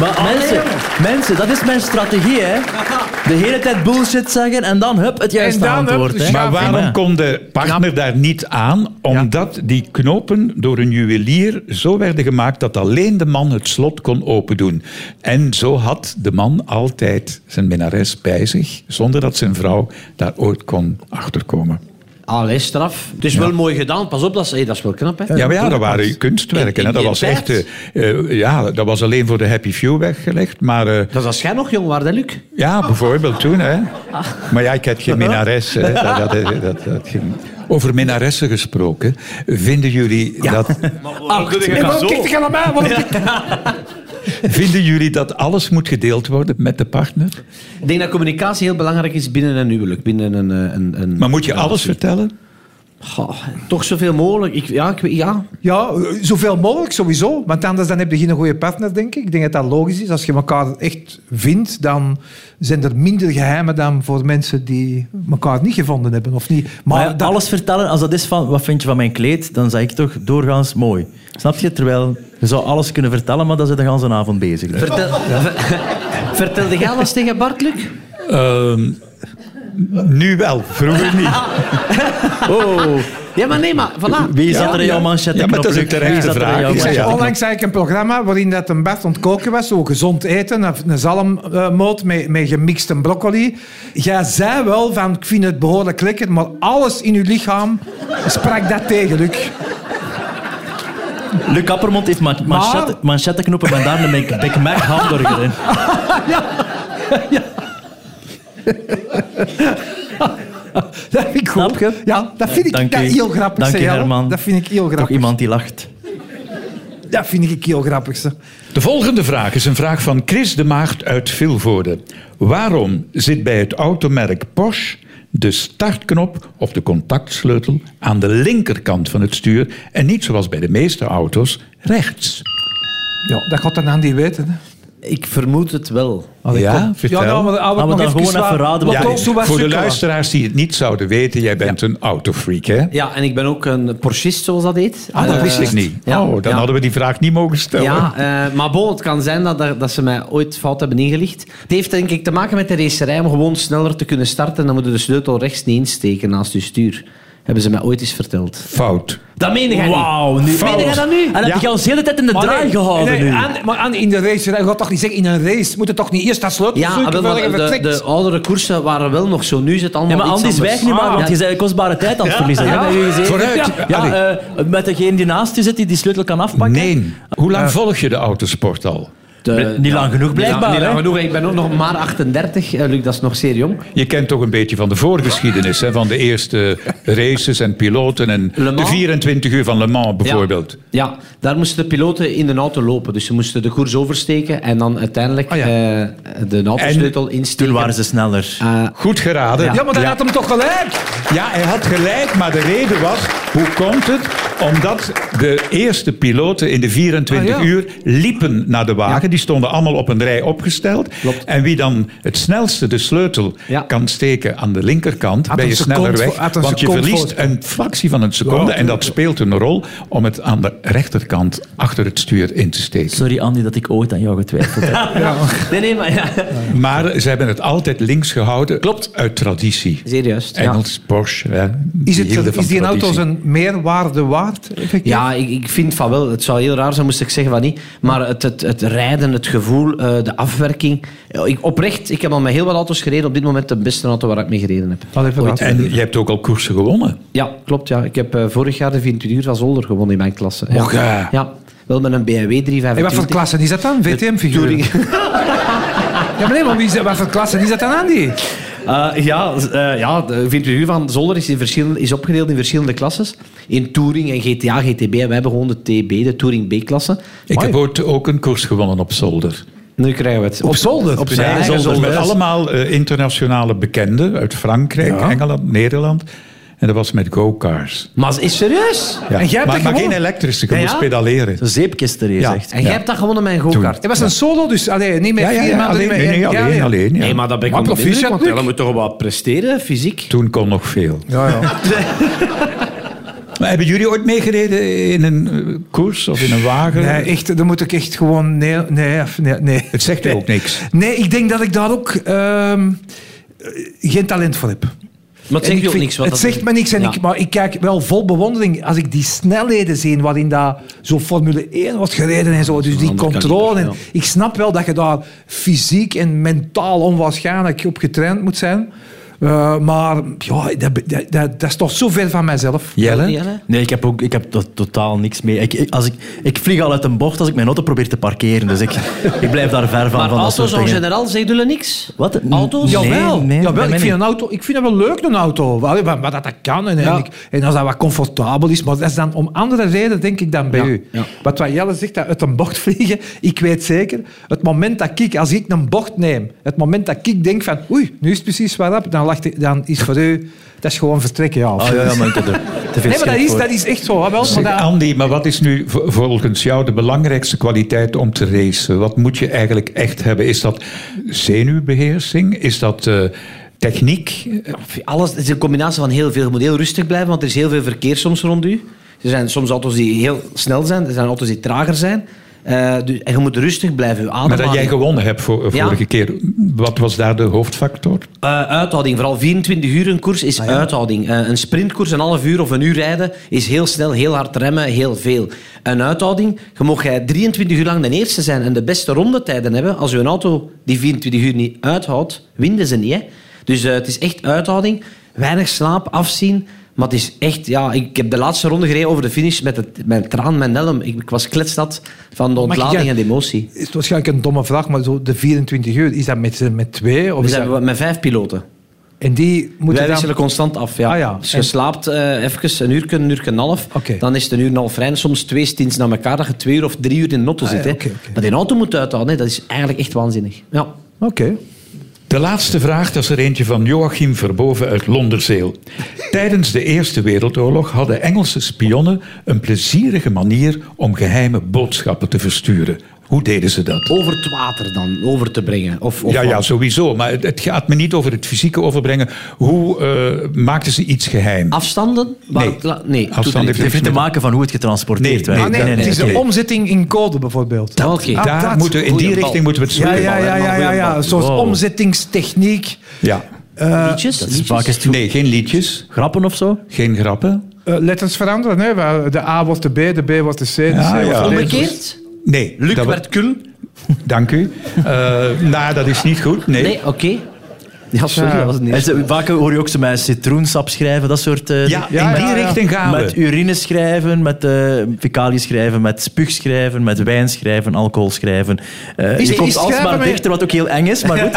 G: Maar
D: Ah,
G: mensen, mensen, dat is mijn strategie, hè. De hele tijd bullshit zeggen en dan hup, het juiste
F: En dan, hup,
G: antwoord, hè.
F: dus
D: Maar waarom
G: Ja.
D: kon de partner daar niet aan? Omdat die knopen door een juwelier zo werden gemaakt dat alleen de man het slot kon opendoen. En zo had de man altijd zijn minnares bij zich, zonder dat zijn vrouw daar ooit kon achterkomen.
E: Allee, Ah, straf. Het is wel mooi gedaan. Pas op, dat is, hey, dat is wel knap, hè?
D: Ja, maar ja, dat waren kunstwerken.
E: In- in
D: hè. dat
E: die
D: was echt.
E: tijd?
D: eh, eh, ja, dat was alleen voor de happy few weggelegd. Maar eh,
E: Dat was jij nog jong, waar, hè, Luc?
D: ja, bijvoorbeeld toen. Hè. Maar ja, ik had geen minnares. Hè. Dat, dat, dat, dat ging- Over minnaressen gesproken, vinden jullie Oh, dat
F: Nee, waarom kijkt hij naar mij? Waarom kijkt hij-
D: Vinden jullie dat alles moet gedeeld worden met de partner?
E: Ik denk dat communicatie heel belangrijk is binnen een huwelijk. Binnen een, eh, een, een,
D: Maar moet je alles vertellen?
E: Goh, toch zoveel mogelijk. Ik, ja, ik, weet- ja.
F: Ja, eh, zoveel mogelijk sowieso. Want anders dan heb je geen goede partner, denk ik. Ik denk dat dat logisch is. Als je elkaar echt vindt, dan zijn er minder geheimen dan voor mensen die elkaar niet gevonden hebben. Of niet. Maar,
G: Maar
F: dat-
G: alles vertellen, als dat is van wat vind je van mijn kleed, dan zeg ik toch doorgaans mooi. Snap je? Terwijl je zou alles kunnen vertellen, maar dan zit je de hele avond bezig. hè.
E: Vertel, ver- vertelde jij alles tegen Bart, Luc?
D: Ehm, nu wel, vroeger niet.
G: Oh,
E: Ja, maar nee, maar voilà.
G: wie zat er in jouw
D: ja.
G: manchette?
D: Ja, maar dat is een terechte vraag. Ik
F: Ik
D: zeg,
F: zag
D: Ja.
F: onlangs zag ik een programma waarin dat een Bart ontkoken was, zo gezond eten, een- een zalmmoot met, met gemixte broccoli. Jij zei wel van, ik vind het behoorlijk lekker, maar alles in uw lichaam sprak dat tegen, Luc.
G: Luc Appermond heeft ma manchette, manchetteknoppen met daar een Big- Big Mac hamburger in.
F: Ah, Dat vind ik
G: Snap
F: goed.
G: je?
F: Ja, dat vind ik
G: Dank
F: dat
G: u.
F: heel grappig.
G: Dank
F: zeg,
G: je,
F: Jelle.
G: Herman.
F: Dat vind ik heel
G: Toch
F: grappig.
G: iemand die lacht.
F: Dat vind ik heel grappig. zeg.
D: De volgende vraag is een vraag van Chris de Maagd uit Vilvoorde. Waarom zit bij het automerk Porsche de startknop of de contactsleutel aan de linkerkant van het stuur en niet zoals bij de meeste auto's rechts?
F: Ja, dat gaat dan aan die weten. Hè.
E: Ik vermoed het wel.
D: ja, vertel.
F: Ja, nou, maar, ah,
G: Gaan we
F: nog
G: dan
F: even
G: gewoon
F: zwaar-
G: even raden wat
F: Ja,
G: het
F: toch,
G: is?
F: zo was
D: Voor de
F: Sukkel.
D: luisteraars die het niet zouden weten, jij bent een autofreak, hè?
E: Ja, en ik ben ook een Porschist, zoals dat heet.
D: Ah, dat
E: Eh,
D: wist ik niet.
E: ja,
D: oh, dan
E: ja.
D: hadden we die vraag niet mogen stellen.
E: Ja, eh, maar bon, het kan zijn dat, er- dat ze mij ooit fout hebben ingelicht. Het heeft denk ik te maken met de racerij om gewoon sneller te kunnen starten. Dan moet je de sleutel rechts niet insteken naast je stuur. Hebben ze mij ooit eens verteld.
D: Fout.
E: Dat meen jij niet.
G: Wauw, nu.
E: Meen jij dat nu?
G: En dat heb je ons de hele tijd in de
F: Maar
G: draai
F: Ah, nee,
G: gehouden
F: nee,
G: nu.
F: aan- maar aan, in de race, je gaat toch niet zeggen, in een race moet het toch niet eerst dat sleutel
E: Ja, ah,
F: zoeken
E: wel,
F: waar je
E: maar de,
F: vertrekt?
E: de oudere koersen waren wel nog zo. Nu is het allemaal
G: Ja, maar
E: iets
G: Andy,
E: anders.
G: zwijg nu maar,
E: Ah.
G: want je bent kostbare tijd aan het verliezen. Ja,
D: Vooruit.
G: Ja, ja, eh, met degene die naast je zit, die die sleutel kan afpakken.
D: Nee. Hoe lang volg je de autosport al?
E: De-
G: Niet lang genoeg, blijkbaar.
E: Ja, nee,
G: hè?
E: lang genoeg. Ik ben ook nog maar 38. eh, Luc, dat is nog zeer jong.
D: Je kent toch een beetje van de voorgeschiedenis, hè? van de eerste races en piloten en
E: Le Mans?
D: de 24 uur van Le Mans bijvoorbeeld.
E: Ja, daar moesten de piloten in de auto lopen. Dus ze moesten de koers oversteken en dan uiteindelijk
F: Ah, ja.
E: eh, de autosleutel
G: Toen
E: insteken.
G: waren ze sneller.
E: Eh,
D: Goed geraden.
F: Ja, maar dan had hem toch gelijk.
D: Ja, hij had gelijk, maar de reden was, hoe komt het? Omdat de eerste piloten in de 24
F: Ah, ja.
D: uur liepen naar de wagen. Die stonden allemaal op een rij opgesteld.
E: Klopt.
D: En wie dan het snelste de sleutel
E: Ja.
D: kan steken aan de linkerkant,
F: Had
D: ben
F: een
D: je sneller
F: seconde
D: weg.
F: voor- had een
D: want je
F: seconde
D: verliest
F: voorsprong.
D: een fractie van een seconde. en dat speelt een rol om het aan de rechterkant achter het stuur in te steken.
G: Sorry, Andy, dat ik ooit aan jou getwijfeld heb.
E: nee, nee, maar ja.
D: Maar ze hebben het altijd links gehouden. Klopt. Uit traditie.
E: Zeer juist. Ja.
D: Engels, Porsche. Hè,
F: Is, het,
D: hielden van
F: is die een auto
D: traditie.
F: zijn meerwaarde waard? effectief?
E: Ja, ik, ik vind van wel. Het zou heel raar zijn, moest ik zeggen van niet. Maar het, het, het rijden, het gevoel, eh, de afwerking. Ja, Ik, oprecht, ik heb al met heel wat auto's gereden. Op dit moment de beste auto waar ik mee gereden heb.
F: Wat even dat.
D: En je hebt ook al koersen gewonnen.
E: Ja, klopt. Ja. Ik heb eh, vorig jaar de 24 uur van Zolder gewonnen in mijn klasse. Ja.
D: Och, ja.
E: ja, wel met een BMW 325.
F: En wat voor klasse is dat dan? VTM-figuur?
E: Touring.
F: Ja, maar nee, maar wie is, wat voor klasse is dat dan, Andy?
E: Eh, ja, z- eh, ja, de 24 uur van Zolder is, in verschillen- is opgedeeld in verschillende klasses. In Touring en GTA, GTB. En wij hebben gewoon de TB, de Touring B-klasse.
D: Ik
E: Amai.
D: heb ooit ook een koers gewonnen op zolder.
E: Nu krijgen we het. Op
F: zolder?
E: Op zijn
D: Ja,
E: eigen zolder.
D: Met allemaal eh, internationale bekenden uit Frankrijk, Engeland, Nederland. En dat was met go-cars.
E: Maar is- is serieus?
D: Ja.
F: En jij hebt
D: maar
F: dat
D: maar geen
F: gewonnen? Dus
D: elektrische, je
E: Ja, ja?
D: moest pedaleren.
G: Zo'n zeepkist er
D: Ja.
G: echt.
E: En jij hebt dat gewonnen met een go-kart.
F: Het was een solo, dus alleen, niet met
D: Ja, ja,
F: vier
D: ja,
F: maanden.
D: alleen,
F: niet met
D: nee, nee,
F: één. Ja,
D: alleen.
F: ja.
D: alleen ja.
E: Nee, maar dat ben ik
F: Maar
E: onder de
F: proficiat,
E: indruk, want eh,
F: Luc.
E: moet toch wel presteren, fysiek?
D: Toen kon nog veel.
F: Ja, ja.
D: Maar hebben jullie ooit meegereden in een eh, koers of in een wagen?
F: Nee, echt, dan moet ik echt gewoon... Nee, nee, of nee. nee.
D: Het zegt u ook niks.
F: Nee, ik denk dat ik daar ook ehm, geen talent voor heb.
E: Maar het
F: En
E: zegt
F: ik
E: je ook
F: vind-
E: niks. want
F: Het
E: dat-
F: zegt me niks. En
E: Ja.
F: ik, maar ik kijk wel vol bewondering als ik die snelheden zie waarin dat zo'n Formule 1 wordt gereden en zo. Dus die
E: ander
F: controle.
E: kaliber,
F: En ik snap wel dat je daar fysiek en mentaal onwaarschijnlijk op getraind moet zijn. Eh, maar ja, dat, dat, dat, dat is toch zo ver van mijzelf.
D: Jelle?
E: Jelle?
G: Nee, ik heb, ook, ik heb to- totaal niks mee. Ik, ik- als ik, ik vlieg al uit een bocht als ik mijn auto probeer te parkeren. Dus ik, ik blijf daar ver van.
E: Maar
G: van dat
E: auto's
G: soort
E: in
G: dingen.
E: generaal zeggen jullie niks.
G: Wat?
E: Auto's?
G: Nee,
F: Jawel,
G: nee, bij
F: jawel
G: mij
F: ik,
G: niet.
F: vind een auto, ik vind dat wel leuk, een auto. Wat, wat, wat dat kan en, en
E: Ja.
F: ik- en als dat wat comfortabel is. Maar dat is dan om andere reden, denk ik, dan bij
E: Ja,
F: u.
E: ja.
F: Wat, wat Jelle zegt, dat uit een bocht vliegen, ik weet zeker, het moment dat ik, als ik een bocht neem, het moment dat ik denk van, oei, nu is het precies waarop, dan, lacht ik, dan is voor u, dat is gewoon vertrekken. Ja.
G: Oh ja, ja, maar ik heb er te veel
F: nee, maar dat
G: schrik
F: is,
G: voor.
F: dat is echt zo. hè, Wel, maar
D: Zeg,
F: dat-
D: Andy, maar wat is nu v- volgens jou de belangrijkste kwaliteit om te racen? Wat moet je eigenlijk echt hebben? Is dat zenuwbeheersing? Is dat eh, techniek?
E: Alles, het is een combinatie van heel veel. Je moet heel rustig blijven, want er is heel veel verkeer soms rond u. Er zijn soms auto's die heel snel zijn, er zijn auto's die trager zijn. Eh, dus, en je moet rustig blijven, je
D: Maar dat
E: ademhaling.
D: jij gewonnen hebt voor, eh,
E: Ja.
D: vorige keer, wat was daar de hoofdfactor?
E: Eh, uithouding, vooral 24 uur een koers
F: Ah,
E: is uithouding. Eh, een sprintkoers, een half uur of een uur rijden, is heel snel, heel hard remmen, heel veel. Een uithouding, je mag jij 23 uur lang de eerste zijn en de beste rondetijden hebben. Als je een auto die 24 uur niet uithoudt, winnen ze niet. Hè? Dus eh, het is echt uithouding, weinig slaap, afzien. Maar het is echt, ja, ik heb de laatste ronde gereden over de finish met het, mijn traan, mijn helm. Ik, ik was kletsnat van de
F: ik eh,
E: ontlading
F: jij-
E: en de emotie.
F: is het waarschijnlijk een domme vraag, maar zo de 24 uur, is dat met, met twee? Of
E: We
F: is
E: zijn
F: dat,
E: met vijf piloten.
F: en die moeten
E: Wij
F: dan...
E: wisselen constant af, ja.
F: Ah, ja.
E: Dus je
F: En-
E: slaapt eh, even een uur, een uur en een half.
F: Oké.
E: Dan is het een uur en een half vrij. En Soms twee stints na elkaar dat je twee uur of drie uur in de auto
F: Ah,
E: zit.
F: ja,
E: hè.
F: oké, oké.
E: Maar die auto moet uithouden, hè. dat is eigenlijk echt waanzinnig. Ja.
F: Oké.
D: De laatste vraag, dat is er eentje van Joachim Verboven uit Londerzeel. Tijdens de Eerste Wereldoorlog hadden Engelse spionnen een plezierige manier om geheime boodschappen te versturen. Hoe deden ze dat?
E: Over het water dan, over te brengen. Of, of
D: Ja,
E: wat.
D: ja, sowieso. Maar het, het gaat me niet over het fysieke overbrengen. Hoe eh, maakten ze iets geheim?
E: Afstanden? Waar-
D: Nee.
E: la- nee.
D: Afstand
E: doet er niet
G: Het heeft
D: Niks
G: te
D: met-
G: maken van hoe het getransporteerd
D: Nee, nee,
G: werd.
F: Ah, Nee,
D: nee,
F: het is
D: nee,
F: de
D: nee.
F: omzet in code bijvoorbeeld.
E: Dat- oké.
F: Ah,
D: Daar
F: dat-
D: moeten, we- in die
E: Goeie bal.
D: richting moeten we het
F: Ja,
D: spelen.
F: ja, ja, ja, ja, ja. Een soort
G: Wow.
F: omzettingstechniek.
D: Ja.
M: Eh,
G: Liedjes? Dat is vaak is het goed.
D: Nee, geen liedjes,
G: Grappen of zo?
D: geen grappen.
F: eh, letters veranderen, hè? waar De A wordt de B, de B wordt de C, de C
D: Ja,
F: wordt
D: ja.
F: de D.
E: Omgekeerd?
D: Nee.
E: Luc
D: dat wa-
E: werd kul?
D: Dank u. Eh, nou, dat is niet goed. Nee.
E: Nee, oké. Ja, sorry, dat was het
G: En
E: niet.
G: ze- vaak hoor je ook ze met citroensap schrijven, dat soort... eh,
D: Ja,
G: dingen.
D: in die
F: ja, ja.
D: richting gaan we.
G: Met urine schrijven, met eh fecaliën schrijven, met spuug schrijven, met wijn schrijven, alcohol schrijven. Eh
E: Is-
G: je komt
E: is
G: alsmaar
E: schrijven met-
G: dichter, wat ook heel eng is, maar goed.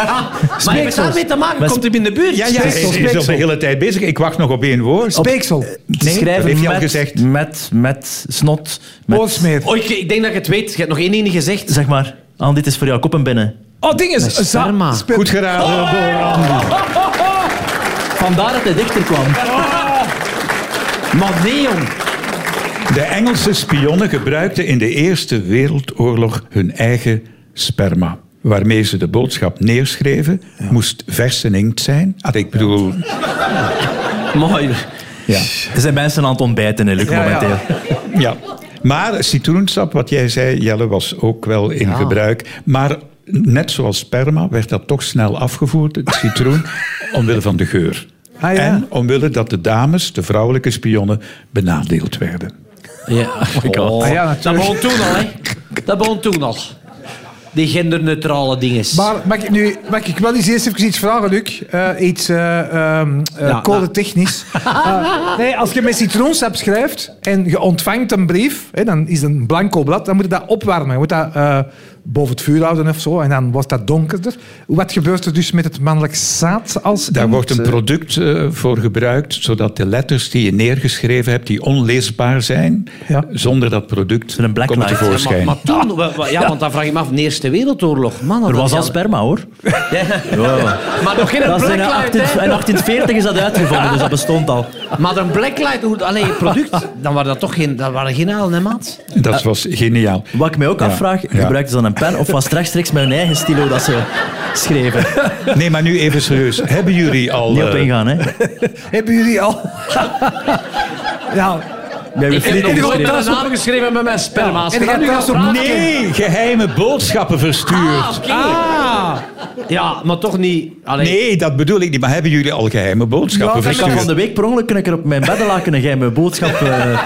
E: Maar heeft daarmee te maken?
G: Met
E: Komt hij in de buurt?
D: Ja, ja, hij
F: Speeksel,
D: is al de
F: speeksel.
D: hele tijd bezig. Ik wacht nog op één woord.
F: Speeksel.
G: Te
D: Nee,
G: schrijven
D: dat heeft hij
G: met,
D: al gezegd.
G: Met, met snot, met...
F: Oorsmeer.
E: Oh, ik, ik denk dat je het weet. Je hebt nog één ding gezegd.
G: Zeg maar, Aan dit is voor jou, kop en binnen.
F: Oh, ding is. za-
E: sperma.
F: spe-
D: Goed geraden.
G: Vandaar dat hij dichter kwam. Ah!
E: Maar nee, jong.
D: De Engelse spionnen gebruikten in de Eerste Wereldoorlog hun eigen sperma. Waarmee ze de boodschap neerschreven, moest vers en inkt zijn. Ah, ik bedoel,
E: Mooi.
D: ja.
G: Er zijn mensen aan het ontbijten, hè, Luc,
F: Ja, ja.
G: momenteel.
D: ja. Maar citroensap, wat jij zei, Jelle, was ook wel in gebruik. Maar net zoals sperma werd dat toch snel afgevoerd, het citroen, omwille van de geur.
F: Ah, ja.
D: En omwille dat de dames, de vrouwelijke spionnen, benadeeld werden.
E: Ja.
F: Ah, ja, natuurlijk.
E: dat begon toen al, hè. Dat begon toen al. Die genderneutrale dinges.
F: Maar mag ik, nu, mag ik wel eens eerst even iets vragen, Luc? Eh, iets eh, ehm, eh,
E: Ja,
F: codetechnisch. Eh, nee, als je met citroensap schrijft en je ontvangt een brief, hè, dan is het een blanco blad, dan moet je dat opwarmen. Je moet dat eh, boven het vuur houden of zo, en dan wordt dat donkerder. Wat gebeurt er dus met het mannelijk zaad als
D: Daar
F: inkt?
D: wordt een product eh, voor gebruikt, zodat de letters die je neergeschreven hebt, die onleesbaar zijn,
F: Ja.
D: zonder dat product
G: Zo'n blacklight.
D: komen
G: Ja, maar-
E: maar,
D: tevoorschijn.
E: maar toen... wa- wa- ja, want dan vraag je me af. De Eerste Wereldoorlog. Man,
G: Er was al sperma, hoor.
E: Maar nog geen
G: Dat is in,
E: blacklight,
G: 18, in
E: hè.
G: 1840 is dat uitgevonden, dus dat bestond al.
E: Maar een blacklight, hoe- alleen je product, dan waren dat toch geen, dat waren geen halen, hè, maat?
D: Dat was geniaal.
G: Eh, Wat ik mij ook
D: Ja,
G: afvraag,
D: ja.
G: gebruikten ze dan een pen of was het rechtstreeks met hun eigen stilo dat ze schreven?
D: Nee, maar nu even serieus. Hebben jullie al...
G: Niet op
D: eh,
G: ingaan, hè?
F: Hebben jullie al... ja,
G: Jij hebt
E: Ik
G: flink
E: heb nog nooit
G: geschreven.
E: mijn naam geschreven met mijn sperma's.
F: En ik heb trouwens op-
G: Ah,
D: nee, geheime boodschappen verstuurd.
E: Ah, oké. Ja, maar toch niet... Allee.
D: Nee, dat bedoel ik niet. Maar hebben jullie al geheime boodschappen
G: Ik had
D: verstuurd?
G: van de week per ongeluk kan ik er op mijn beddelaken een geheime boodschap eh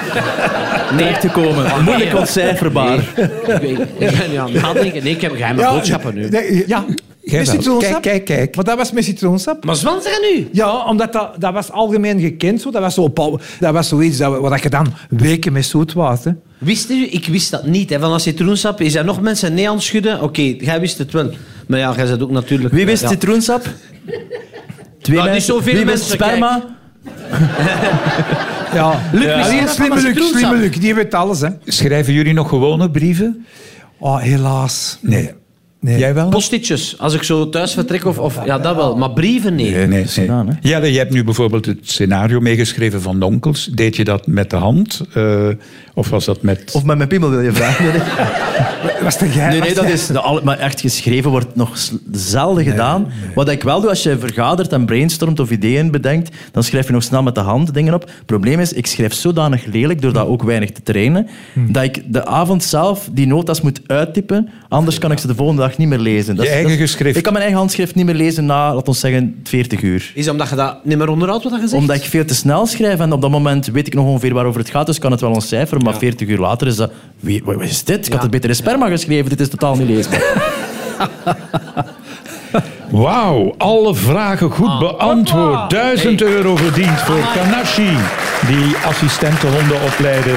G: terecht te komen. Moeilijk ontcijferbaar.
E: Ah, Ik weet- ik ben niet aan het nadenken. Nee, ik heb geheime boodschappen nu.
F: Nee, ja.
D: Jij
F: Met
D: wel.
F: citroensap.
D: Kijk, kijk, kijk.
F: Want dat was met citroensap.
E: Maar zwansen er nu?
F: Ja, omdat dat, dat was algemeen gekend. Zo. Dat, was zo, op- dat was zoiets dat, we- wat je dan weken met zoet was. Hè.
E: Wist u? Ik wist dat niet. Hè. Van als citroensap is er nog mensen nee aan het schudden. Oké, jij wist het wel. Maar ja, jij zat ook natuurlijk... eh,
G: Wie wist
E: ja.
G: citroensap? Twee
E: Nou, niet
G: mensen.
E: zoveel
G: Wie
E: mensen,
G: wist
E: kijk.
G: sperma?
F: Ja. Luc,
E: misschien is dat
F: slimme
E: van
F: Luc,
E: citroensap.
F: slimme Luc. Die weet alles. Hè.
D: Schrijven jullie nog gewone brieven?
F: Oh, helaas.
D: Nee.
F: Nee.
D: Jij wel?
E: Postitjes. Als ik zo thuis vertrek of... of ja, dat wel. Maar brieven, nee.
D: Nee, nee.
G: gedaan, hè?
D: Jelle, je hebt nu bijvoorbeeld het scenario meegeschreven van de onkels. Deed je dat met de hand? eh, of was dat met...
G: Of met mijn piemel wil je vragen? Nee, nee.
F: Was dat jij?
G: Nee,
F: was
G: nee, dat is de alle- maar echt geschreven wordt nog s- zelden gedaan. Wat ik wel doe, als je vergadert en brainstormt of ideeën bedenkt, dan schrijf je nog snel met de hand dingen op. Het probleem is, ik schrijf zodanig lelijk, door dat ook weinig te trainen, dat ik de avond zelf die notas moet uittypen, anders kan ik ze de volgende dag niet meer lezen. Dat
D: Je
G: is-
D: eigen
G: dat is-
D: geschrift.
G: Ik kan mijn eigen handschrift niet meer lezen na, laten we zeggen, 40 uur.
E: Is omdat je dat niet meer onderhoudt, wat je zegt?
G: Omdat ik veel te snel schrijf en op dat moment weet ik nog ongeveer waarover het gaat, dus kan het wel ontcijferen. Maar 40 uur later is dat... Wie, wat is dit? Ik had het beter in sperma geschreven, dit is totaal niet leesbaar.
D: Wauw, alle vragen goed beantwoord. 1000 euro verdiend voor Kanashi, die assistente honden opleiden.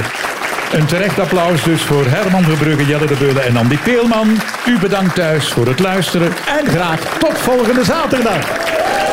D: Een terecht applaus dus voor Herman Verbrugge, Jelle de Beulen en Andy Peelman. U bedankt thuis voor het luisteren en graag tot volgende zaterdag.